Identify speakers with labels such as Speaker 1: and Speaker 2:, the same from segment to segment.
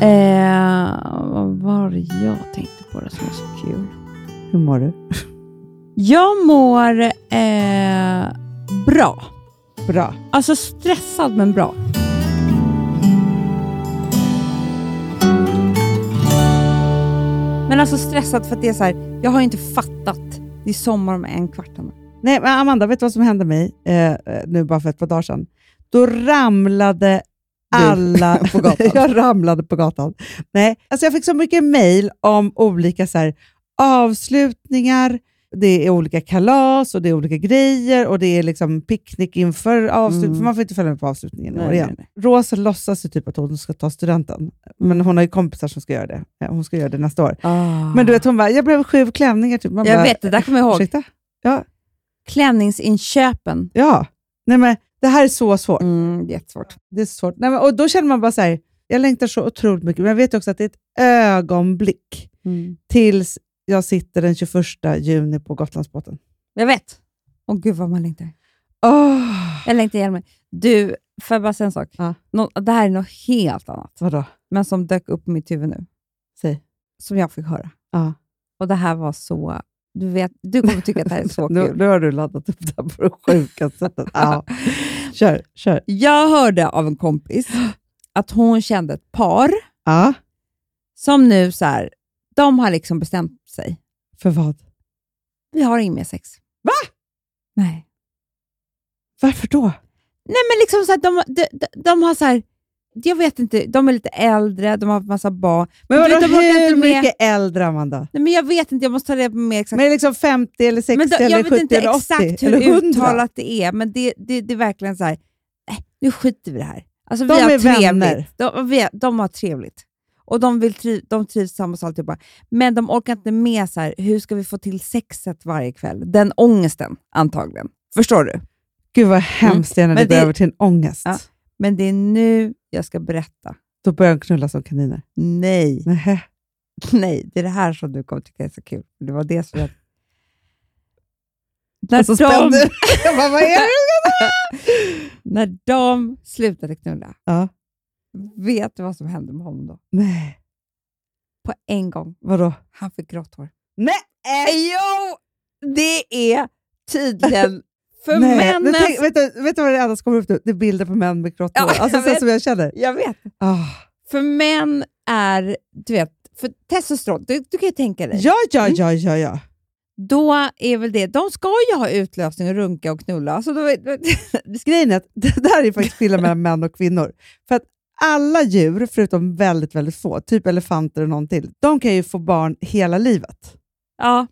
Speaker 1: Eh, det jag tänkte på det som är så kul?
Speaker 2: Hur mår du?
Speaker 1: Jag mår eh, bra.
Speaker 2: Bra.
Speaker 1: Alltså stressad men bra. Men alltså stressad för att det är så här, jag har inte fattat. Det är sommar om en kvart. Anna.
Speaker 2: Nej, men Amanda, vet du vad som hände mig eh, eh, nu bara för ett par dagar sedan? Då ramlade alla...
Speaker 1: på gatan.
Speaker 2: jag ramlade på gatan. Nej, alltså jag fick så mycket mejl om olika så här, avslutningar, det är olika kalas och det är olika grejer och det är liksom picknick inför avslutningen,
Speaker 1: Mm.
Speaker 2: för man får inte följa med på avslutningen i
Speaker 1: Nej,
Speaker 2: år igen.
Speaker 1: nej,
Speaker 2: Rosa låtsas ju typ att hon ska ta studenten, men hon har ju kompisar som ska göra det. Ja, Hon ska göra det nästa år.
Speaker 1: Ah.
Speaker 2: Men du vet, hon bara, jag blev sju klänningar typ. Man
Speaker 1: jag
Speaker 2: bara,
Speaker 1: vet, det där kommer jag ihåg.
Speaker 2: Ursäkta? Ja,
Speaker 1: Klänningsinköpen.
Speaker 2: Ja, nej men det här är så svårt.
Speaker 1: Mm, jättesvårt.
Speaker 2: Det är så svårt. Nej, men, och då känner man bara så här, jag längtar så otroligt mycket, men jag vet också att det är ett ögonblick
Speaker 1: Mm.
Speaker 2: tills jag sitter den 21 juni på Gotlandsbåten.
Speaker 1: Jag vet. Åh gud vad man längtar.
Speaker 2: Oh,
Speaker 1: Jag längtar ihjäl mig. Du, får jag bara säga en sak?
Speaker 2: Ja.
Speaker 1: Nå- det här är något helt annat,
Speaker 2: vadå?
Speaker 1: men som dök upp i mitt huvud nu,
Speaker 2: Säg.
Speaker 1: som jag fick höra.
Speaker 2: Ja.
Speaker 1: Och det här var så... Du, vet, du kommer tycka att det här är så
Speaker 2: Nu,
Speaker 1: kul.
Speaker 2: nu har du laddat upp det här på det sjukaste sättet. Ja. Kör, kör.
Speaker 1: Jag hörde av en kompis att hon kände ett par
Speaker 2: Ja.
Speaker 1: som nu så här, de har liksom bestämt sig.
Speaker 2: För vad?
Speaker 1: Vi har inget mer sex.
Speaker 2: Va?
Speaker 1: Nej.
Speaker 2: Varför då?
Speaker 1: Nej, men liksom så här, de, de, de, de har så här... Jag vet inte, de är lite äldre, de har massa barn.
Speaker 2: Men
Speaker 1: Du vet,
Speaker 2: vadå,
Speaker 1: de orkar
Speaker 2: hur
Speaker 1: inte med-
Speaker 2: mycket äldre, Amanda?
Speaker 1: Nej, men jag vet inte, jag måste ta reda på mer exakt.
Speaker 2: Men är det liksom 50, eller 60,
Speaker 1: Men då,
Speaker 2: eller
Speaker 1: jag
Speaker 2: 70,
Speaker 1: vet inte
Speaker 2: eller 80,
Speaker 1: exakt
Speaker 2: eller
Speaker 1: hur
Speaker 2: 100?
Speaker 1: uttalat det är, men det, det, det är verkligen så här, nej, nu skiter vi i det här. Alltså,
Speaker 2: De
Speaker 1: vi har
Speaker 2: är vänner.
Speaker 1: trevligt. De, vi, har- de har trevligt. Och de, vill triv, de trivs tillsammans och alltihopa. Men de orkar inte med så här, hur ska vi få till sexet varje kväll? Den ångesten, antagligen. Förstår du?
Speaker 2: Gud vad hemskt det är när
Speaker 1: Men
Speaker 2: Mm. det går
Speaker 1: det-
Speaker 2: över till en ångest.
Speaker 1: Ja. Men det är nu jag ska berätta.
Speaker 2: Då börjar de knulla som kaniner.
Speaker 1: Nej,
Speaker 2: Nähä.
Speaker 1: nej, det är det här som du kommer tycka är så kul. Det var det som jag... När
Speaker 2: Alltså, spänd. Jag bara, vad är det?
Speaker 1: När de slutade knulla,
Speaker 2: Ja.
Speaker 1: vet du vad som hände med honom då?
Speaker 2: Nej,
Speaker 1: På en gång.
Speaker 2: vadå?
Speaker 1: Han fick grått hår.
Speaker 2: Nej!
Speaker 1: eh, Jo! Det är tydligen för
Speaker 2: Nej.
Speaker 1: männen...
Speaker 2: Men tänk, vet, du, vet du vad det annars kommer upp nu? Det är bilder på män med grått
Speaker 1: Ja,
Speaker 2: hår. alltså
Speaker 1: jag
Speaker 2: så
Speaker 1: vet.
Speaker 2: som jag känner.
Speaker 1: Jag vet.
Speaker 2: Ah.
Speaker 1: För män är, du vet, för testosteron, du, du kan ju tänka dig.
Speaker 2: Ja, ja, ja, ja, ja.
Speaker 1: Då är väl det, de ska ju ha utlösning och runka och knulla. Så då, är-
Speaker 2: Grejen är att det där är faktiskt skillnad mellan män och kvinnor. För att alla djur, förutom väldigt, väldigt få, typ elefanter och någon till, de kan ju få barn hela livet.
Speaker 1: ja,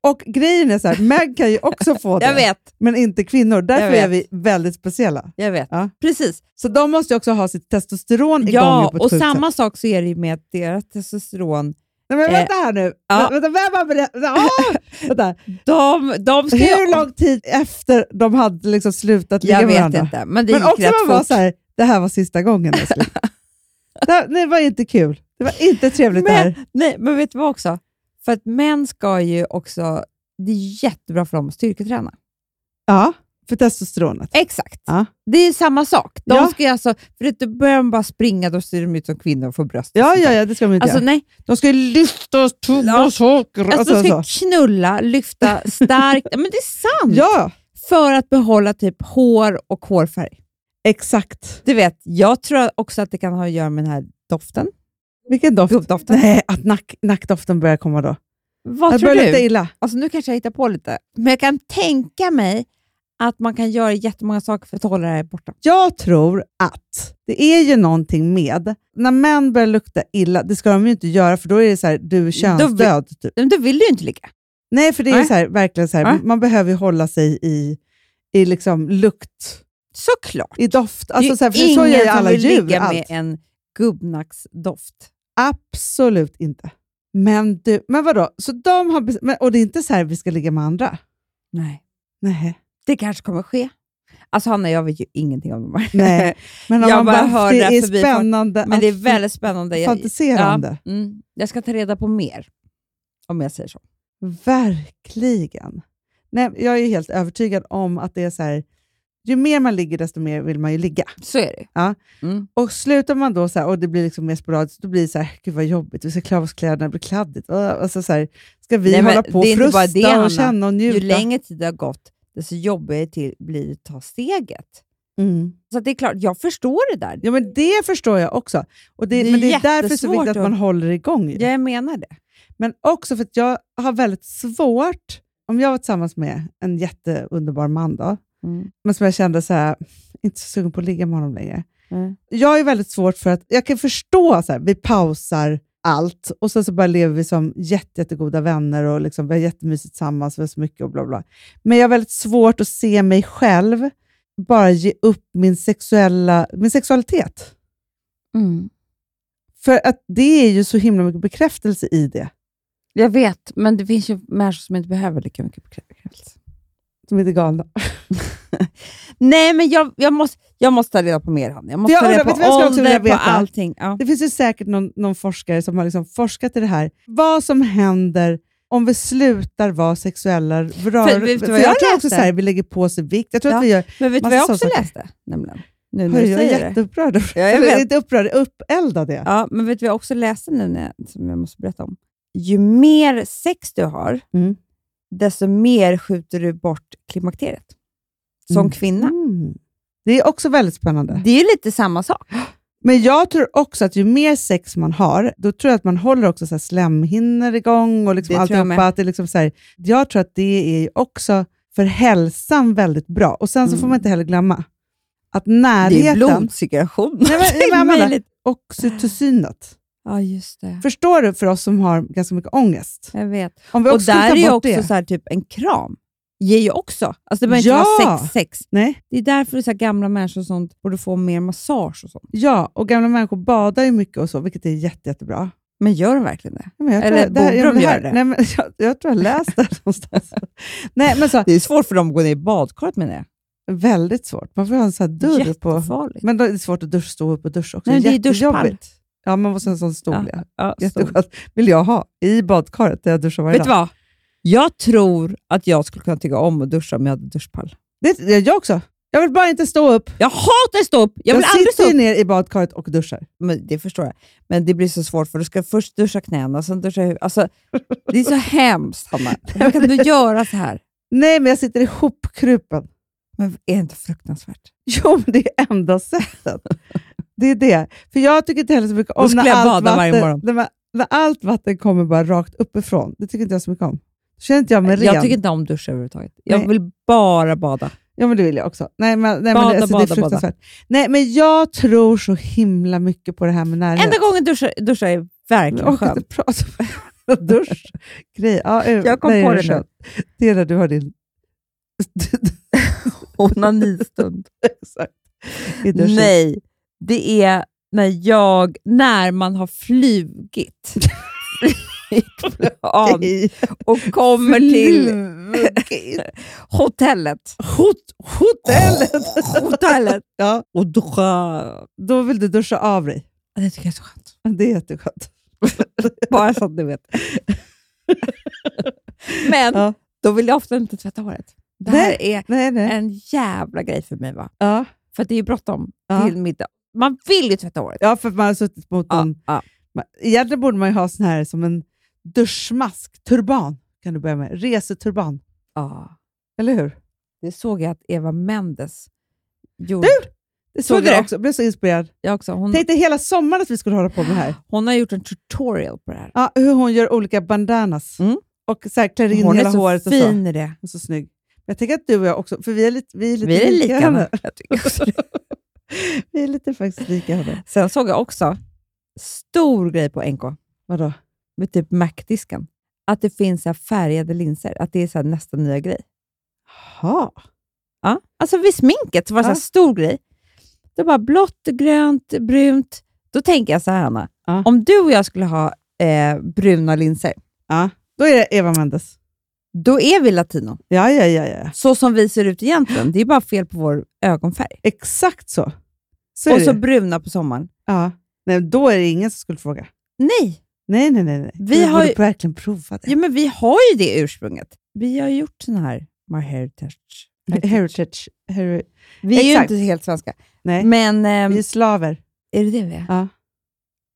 Speaker 2: Och grejen är så här, män kan ju också få det,
Speaker 1: jag vet,
Speaker 2: men inte kvinnor. Därför
Speaker 1: vet.
Speaker 2: är vi väldigt speciella.
Speaker 1: jag vet.
Speaker 2: Ja. Precis.
Speaker 1: Precis.
Speaker 2: Så de måste ju också ha sitt testosteron igång ju
Speaker 1: Ja,
Speaker 2: på ett
Speaker 1: och
Speaker 2: sjukt sätt.
Speaker 1: samma sak så är det ju med att deras testosteron,
Speaker 2: Nej, men
Speaker 1: Eh,
Speaker 2: vänta här nu.
Speaker 1: ja.
Speaker 2: Vä- Vänta, vem har berättat? vänta.
Speaker 1: de, de ska ju...
Speaker 2: Hur lång tid efter de hade liksom slutat ligga
Speaker 1: Jag
Speaker 2: med
Speaker 1: vet
Speaker 2: varandra?
Speaker 1: inte, men det
Speaker 2: Men
Speaker 1: gick
Speaker 2: också
Speaker 1: rätt
Speaker 2: man var
Speaker 1: fort.
Speaker 2: så här, det här var sista gången. älskling. det, här, nej, det var inte kul. Det var inte trevligt det här.
Speaker 1: Men, nej, men vet du vad också? För att män ska ju också... Det är jättebra för dem att styrketräna.
Speaker 2: Ja, för testosteronet.
Speaker 1: Exakt.
Speaker 2: Ja.
Speaker 1: Det är ju samma sak. De
Speaker 2: Ja.
Speaker 1: ska ju alltså... För att då börjar de bara springa, då ser de ut som kvinnor och får bröst. och
Speaker 2: Ja,
Speaker 1: sånt
Speaker 2: ja,
Speaker 1: där.
Speaker 2: ja, det ska de inte
Speaker 1: Alltså
Speaker 2: göra.
Speaker 1: nej,
Speaker 2: De ska ju lyfta och tunga
Speaker 1: Ja.
Speaker 2: och saker. och
Speaker 1: alltså, de
Speaker 2: så.
Speaker 1: ska knulla, lyfta starkt. Ja, men det är sant!
Speaker 2: Ja,
Speaker 1: För att behålla typ hår och hårfärg.
Speaker 2: exakt.
Speaker 1: Du vet, jag tror också att det kan ha att göra med den här doften.
Speaker 2: Vilken doft.
Speaker 1: Gubbdoften.
Speaker 2: Nej, att nack, nackdoften börjar komma då.
Speaker 1: Vad
Speaker 2: jag
Speaker 1: tror
Speaker 2: börjar
Speaker 1: du?
Speaker 2: lukta illa.
Speaker 1: Alltså nu kanske jag hittar på lite, men jag kan tänka mig att man kan göra jättemånga saker för att hålla det här borta.
Speaker 2: Jag tror att det är ju någonting med, när män börjar lukta illa, det ska de ju inte göra för då är det så här, du är könsdöd. Typ.
Speaker 1: Men då vill du ju inte ligga.
Speaker 2: Nej, för det är ju
Speaker 1: Nej.
Speaker 2: så här, verkligen så här,
Speaker 1: Nej.
Speaker 2: man behöver ju hålla sig i, i liksom lukt,
Speaker 1: Såklart.
Speaker 2: i doft.
Speaker 1: Det
Speaker 2: Alltså
Speaker 1: är
Speaker 2: så här, för
Speaker 1: ingen
Speaker 2: så gör ju
Speaker 1: som
Speaker 2: alla
Speaker 1: vill
Speaker 2: djur.
Speaker 1: ligga med
Speaker 2: Allt.
Speaker 1: en gubbnacksdoft.
Speaker 2: Absolut inte. Men, du, men vadå, så de har bes- men, och det är inte så här vi ska ligga med andra?
Speaker 1: Nej.
Speaker 2: Nej.
Speaker 1: Det kanske kommer ske. Alltså Hanna, jag vet ju ingenting om de här.
Speaker 2: Nej. Men om
Speaker 1: Jag
Speaker 2: man
Speaker 1: bara
Speaker 2: bara,
Speaker 1: hör det
Speaker 2: det
Speaker 1: här
Speaker 2: är
Speaker 1: förbi folk.
Speaker 2: spännande
Speaker 1: Men det är
Speaker 2: att
Speaker 1: väldigt spännande. Jag,
Speaker 2: fantiserande.
Speaker 1: Ja, mm, jag ska ta reda på mer, om jag säger så.
Speaker 2: Verkligen. Nej, jag är helt övertygad om att det är så här, Ju mer man ligger, desto mer vill man ju ligga.
Speaker 1: Så är det.
Speaker 2: Och slutar man då så här, och det blir liksom mer sporadiskt, då blir det så här, gud vad jobbigt, vi ska klä av oss kläderna, det blir kladdigt. Äh, Alltså så här, ska vi
Speaker 1: Nej, men
Speaker 2: hålla på och
Speaker 1: det är inte bara
Speaker 2: frusta
Speaker 1: det, Hanna.
Speaker 2: och känna och njuta?
Speaker 1: Ju längre tid det har gått, desto jobbigare till blir det att ta steget.
Speaker 2: Mm.
Speaker 1: Så att det är klart, jag förstår det där.
Speaker 2: Ja, men det förstår jag också. Och det,
Speaker 1: Det är
Speaker 2: men det är därför så
Speaker 1: jättesvårt
Speaker 2: viktigt att man
Speaker 1: att-
Speaker 2: håller igång. ju.
Speaker 1: Jag menar det.
Speaker 2: Men också för att jag har väldigt svårt, om jag var tillsammans med en jätteunderbar man då, men som jag kände så här, inte så sugen på att ligga med honom längre.
Speaker 1: Mm.
Speaker 2: Jag är väldigt svårt för att, jag kan förstå så här, vi pausar allt och sen så bara lever vi som jätte, jättegoda vänner och liksom, vi har jättemysigt tillsammans, vi har så mycket och bla bla. Men jag har väldigt svårt att se mig själv bara ge upp min, sexuella, min sexualitet. För att det är ju så himla mycket bekräftelse i det,
Speaker 1: Jag vet, men det finns ju människor som inte behöver lika mycket bekräftelse.
Speaker 2: som inte är galna.
Speaker 1: Nej, men jag, jag, måste, jag måste ta reda på mer, Hanna. Jag måste
Speaker 2: Jag
Speaker 1: ta reda
Speaker 2: undrar,
Speaker 1: på
Speaker 2: vet du vad jag skulle också
Speaker 1: ålder, på
Speaker 2: vilja veta?
Speaker 1: allting. Ja.
Speaker 2: Det finns ju säkert någon, någon forskare som har liksom forskat i det här. Vad som händer om vi slutar vara sexuella rörelser.
Speaker 1: vet du vad jag
Speaker 2: jag tror också
Speaker 1: läste?
Speaker 2: så här, vi lägger på oss vikt. Jag tror
Speaker 1: Ja,
Speaker 2: att vi gör...
Speaker 1: Men vet du
Speaker 2: Massa
Speaker 1: vad jag
Speaker 2: sådana
Speaker 1: också
Speaker 2: saker.
Speaker 1: läste? Nämligen, nu när
Speaker 2: Hör,
Speaker 1: du
Speaker 2: jag
Speaker 1: säger
Speaker 2: är
Speaker 1: det.
Speaker 2: jätteupprörd. över-
Speaker 1: Ja, jag
Speaker 2: Eller
Speaker 1: vet.
Speaker 2: Inte upprörd, uppeldad är jag.
Speaker 1: Ja, men vet du vad jag också läste nu, när jag, som jag måste berätta om? Ju mer sex du har,
Speaker 2: Mm.
Speaker 1: desto mer skjuter du bort klimakteriet. Som
Speaker 2: Mm.
Speaker 1: kvinna.
Speaker 2: Mm. Det är också väldigt spännande.
Speaker 1: Det är ju lite samma sak.
Speaker 2: Men jag tror också att ju mer sex man har, då tror jag att man håller också så här slemhinnor igång och liksom
Speaker 1: Det tror jag
Speaker 2: alltihopa.
Speaker 1: med.
Speaker 2: Att det liksom så här, jag tror att det är ju också för hälsan väldigt bra. Och sen så får
Speaker 1: Mm.
Speaker 2: man inte heller glömma att
Speaker 1: Det är
Speaker 2: närheten...
Speaker 1: blodcirkulation.
Speaker 2: Nej, men, nej, men Amanda,
Speaker 1: Möjligt.
Speaker 2: oxytocinet.
Speaker 1: Ja, just det.
Speaker 2: Förstår du för oss som har ganska mycket ångest?
Speaker 1: Jag vet.
Speaker 2: Om vi
Speaker 1: Och
Speaker 2: också skulle
Speaker 1: där
Speaker 2: ta
Speaker 1: är ju
Speaker 2: bort
Speaker 1: också
Speaker 2: det.
Speaker 1: så här, typ en kram. Ger ju också. Alltså det behöver inte
Speaker 2: Ja!
Speaker 1: vara sex, sex.
Speaker 2: Nej.
Speaker 1: Det är därför så här, gamla människor och sånt borde få mer massage och sånt.
Speaker 2: Ja, och gamla människor badar ju mycket och så, vilket är jätte, jättebra.
Speaker 1: Men gör de verkligen det?
Speaker 2: Ja, Men jag
Speaker 1: Eller
Speaker 2: här- ja, men
Speaker 1: borde de
Speaker 2: här-
Speaker 1: göra det?
Speaker 2: Nej, men jag, jag tror jag läste det någonstans. nej, men så,
Speaker 1: Det är svårt för dem att gå ner i badkaret med det.
Speaker 2: väldigt svårt. Man får ha en sån här dörr på.
Speaker 1: Jättefarligt.
Speaker 2: Men då är det svårt att dusch, stå upp och duscha också.
Speaker 1: Nej, det är
Speaker 2: Jättejobbigt.
Speaker 1: duschpall.
Speaker 2: Ja, man måste ha en sån stol.
Speaker 1: Ja,
Speaker 2: Ja.
Speaker 1: ja, så.
Speaker 2: Jätteskönt. Vill jag ha i badkaret där jag duschar varje
Speaker 1: Vet du
Speaker 2: dag.
Speaker 1: vad? Jag tror att jag skulle kunna tycka om att duscha om jag hade duschpall.
Speaker 2: Det, det, jag också. Jag vill bara inte stå upp.
Speaker 1: Jag hatar stå upp! Jag vill aldrig stå
Speaker 2: sitter ju
Speaker 1: upp!
Speaker 2: ner i badkaret och duschar.
Speaker 1: Men det förstår jag. Men det blir så svårt för du ska först duscha knäna, sen duscha huvudet. Alltså, det är så hemskt, Hanna. Hur kan du göra så här?
Speaker 2: Nej, men jag sitter ihopkrupen.
Speaker 1: Men är det inte fruktansvärt?
Speaker 2: Jo, men det är enda sättet. Det är det. För jag tycker inte heller så mycket
Speaker 1: Då
Speaker 2: om
Speaker 1: skulle
Speaker 2: när
Speaker 1: jag
Speaker 2: allt,
Speaker 1: bada varje
Speaker 2: vatten,
Speaker 1: morgon.
Speaker 2: när, man, när allt vatten kommer bara rakt uppifrån. Det tycker inte jag så mycket om. Då känner inte jag mig ren.
Speaker 1: Jag tycker inte om dusch överhuvudtaget. Jag
Speaker 2: Nej.
Speaker 1: vill bara bada.
Speaker 2: Ja, men det vill jag också. Nej, men, nej,
Speaker 1: Bada,
Speaker 2: men det, alltså, det
Speaker 1: bada,
Speaker 2: är
Speaker 1: bada.
Speaker 2: fruktansvärt. Nej, men jag tror så himla mycket på det här med närhet.
Speaker 1: Enda gången duscha, duscha är verkligen
Speaker 2: jag orkar
Speaker 1: skönt.
Speaker 2: inte prata om dusch. Grej. Ja, eh,
Speaker 1: Jag kom
Speaker 2: nej,
Speaker 1: på
Speaker 2: är
Speaker 1: det nu.
Speaker 2: skönt. Det är när du har din...
Speaker 1: Onanistund.
Speaker 2: Exakt. I duschen.
Speaker 1: Nej, det är när jag, när man har flugit. flygplan
Speaker 2: Nej.
Speaker 1: och kommer till
Speaker 2: Flugit.
Speaker 1: hotellet.
Speaker 2: Hot, hotellet!
Speaker 1: hotellet.
Speaker 2: Ja,
Speaker 1: Och duscha.
Speaker 2: då vill du duscha av dig.
Speaker 1: Det tycker jag är så skönt.
Speaker 2: Det är jätteskönt.
Speaker 1: Bara så att ni vet. Men
Speaker 2: Ja.
Speaker 1: då vill jag ofta inte tvätta håret. Det här är
Speaker 2: Nej, nej.
Speaker 1: en jävla grej för mig. Va?
Speaker 2: Ja,
Speaker 1: För att det är ju bråttom
Speaker 2: Ja.
Speaker 1: till middag. Man vill ju tvätta håret.
Speaker 2: ja för man har suttit mot
Speaker 1: Ja,
Speaker 2: någon.
Speaker 1: ja.
Speaker 2: Man, egentligen borde man ju ha sån här som en duschmask. Turban kan du börja med. Reseturban.
Speaker 1: Ja.
Speaker 2: Eller hur?
Speaker 1: Det såg jag att Eva Mendes gjorde.
Speaker 2: Det
Speaker 1: Såg
Speaker 2: såg
Speaker 1: du det? Mm.
Speaker 2: jag också. Jag blev så inspirerad.
Speaker 1: Jag också. Hon,
Speaker 2: Tänkte hela sommaren att vi skulle hålla på med det här.
Speaker 1: hon har gjort en tutorial på det här.
Speaker 2: Ja, hur hon gör olika bandanas.
Speaker 1: Mm.
Speaker 2: Och så här klär in
Speaker 1: hon
Speaker 2: hela
Speaker 1: är så
Speaker 2: håret och så.
Speaker 1: fin i det.
Speaker 2: Hon är så snygg. Men jag tänker att du och jag också, för vi är lite, vi är lite
Speaker 1: Vi är lika.
Speaker 2: henne.
Speaker 1: Anna. Jag tycker också det.
Speaker 2: Vi är lite faktiskt lika henne.
Speaker 1: Sen såg jag också, stor grej på NK,
Speaker 2: Vadå?
Speaker 1: med typ Mac-disken, att det finns så här färgade linser. Att det är så här nästa nya grej.
Speaker 2: Jaha.
Speaker 1: Ja. Alltså vid sminket så var det
Speaker 2: Ja.
Speaker 1: så här stor grej. Det var blått, grönt, brunt. Då tänker jag så här, Hanna.
Speaker 2: Ja.
Speaker 1: Om du och jag skulle ha eh, bruna linser,
Speaker 2: Ja, då är det Eva Mendes.
Speaker 1: då är vi latino.
Speaker 2: Ja, ja, ja, ja.
Speaker 1: Så som vi ser ut egentligen. Det är bara fel på vår ögonfärg.
Speaker 2: Exakt så. Så är
Speaker 1: och så
Speaker 2: det.
Speaker 1: bruna på sommaren.
Speaker 2: Ja. Nej, då är det ingen som skulle fråga.
Speaker 1: Nej,
Speaker 2: Nej, nej, nej. nej.
Speaker 1: Vi
Speaker 2: Vi
Speaker 1: har
Speaker 2: borde
Speaker 1: ju-
Speaker 2: verkligen prova det.
Speaker 1: ja, men vi har ju det ursprunget. Vi har ju gjort sån här My Heritage
Speaker 2: Heritage. Heri-
Speaker 1: Vi är
Speaker 2: Exakt.
Speaker 1: ju inte helt svenska.
Speaker 2: Nej,
Speaker 1: Men, ehm,
Speaker 2: vi är slaver.
Speaker 1: är det det vi är?
Speaker 2: Ja.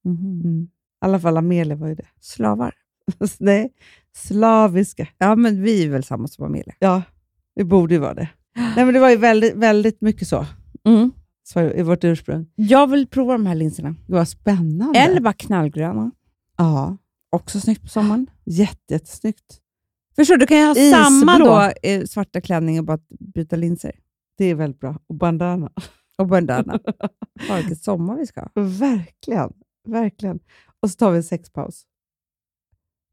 Speaker 1: Mhm.
Speaker 2: Mm. I alla fall Amelia var ju det.
Speaker 1: Slavar.
Speaker 2: Nej, slaviska.
Speaker 1: Ja, men vi är väl samma som Amelia.
Speaker 2: Ja, vi borde ju vara det. Nej, men det var ju väldigt, väldigt mycket så,
Speaker 1: Mm.
Speaker 2: så i vårt ursprung.
Speaker 1: Jag vill prova de här linserna.
Speaker 2: Det var spännande.
Speaker 1: Eller bara knallgröna.
Speaker 2: Ja,
Speaker 1: Också snyggt på sommaren.
Speaker 2: jätte, jättesnyggt.
Speaker 1: Förstår du? Då kan jag ha
Speaker 2: Isblå.
Speaker 1: samma då, eh, svarta klänning och bara byta linser.
Speaker 2: Det är väldigt bra. Och bandana.
Speaker 1: Och bandana. Fan, Vilken sommar vi ska ha.
Speaker 2: Verkligen, verkligen. Och så tar vi en sexpaus.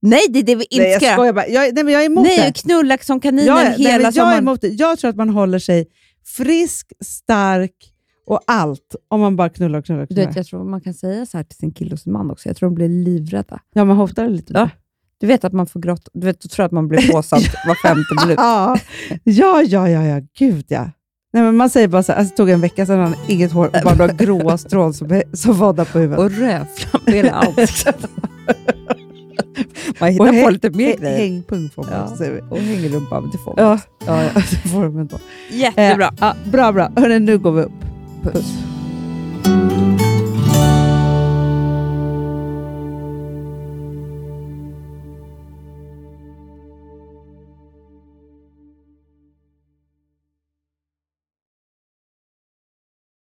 Speaker 1: Nej, det är det vi
Speaker 2: Nej,
Speaker 1: inte
Speaker 2: jag
Speaker 1: ska göra.
Speaker 2: skojar bara. Jag, nej, men jag är emot
Speaker 1: Nej,
Speaker 2: det.
Speaker 1: och knulla som kaninen
Speaker 2: Jag, nej,
Speaker 1: hela
Speaker 2: men jag är
Speaker 1: sommaren.
Speaker 2: emot det. Jag tror att man håller sig frisk, stark och allt om man bara knullar och knullar. Och
Speaker 1: Du
Speaker 2: knullar.
Speaker 1: vet, jag tror man kan säga så här till sin kille och sin man också. Jag tror de blir livrädda.
Speaker 2: Ja, man hotar lite.
Speaker 1: Ja. Du vet att man får gråta. Du vet, du tror att man blir påsatt var femte minut.
Speaker 2: Ja, ja, ja, ja, ja. gud ja. Nej, men man säger bara så här, alltså, det tog en vecka sedan han hade inget hår och bara några gråa strån som, som vaddar på huvudet.
Speaker 1: Och rödflamm i hela ansiktet. Man
Speaker 2: Och
Speaker 1: hittar
Speaker 2: häng-
Speaker 1: på lite mer
Speaker 2: Hä-
Speaker 1: grejer.
Speaker 2: Hängpung får man
Speaker 1: Ja.
Speaker 2: också, säger vi.
Speaker 1: Och hängrumpa, men det får man.
Speaker 2: Ja, ja, ja, det får de ändå.
Speaker 1: Jättebra.
Speaker 2: Eh, ja, bra, bra. Hörrni, nu går vi upp.
Speaker 1: Puss.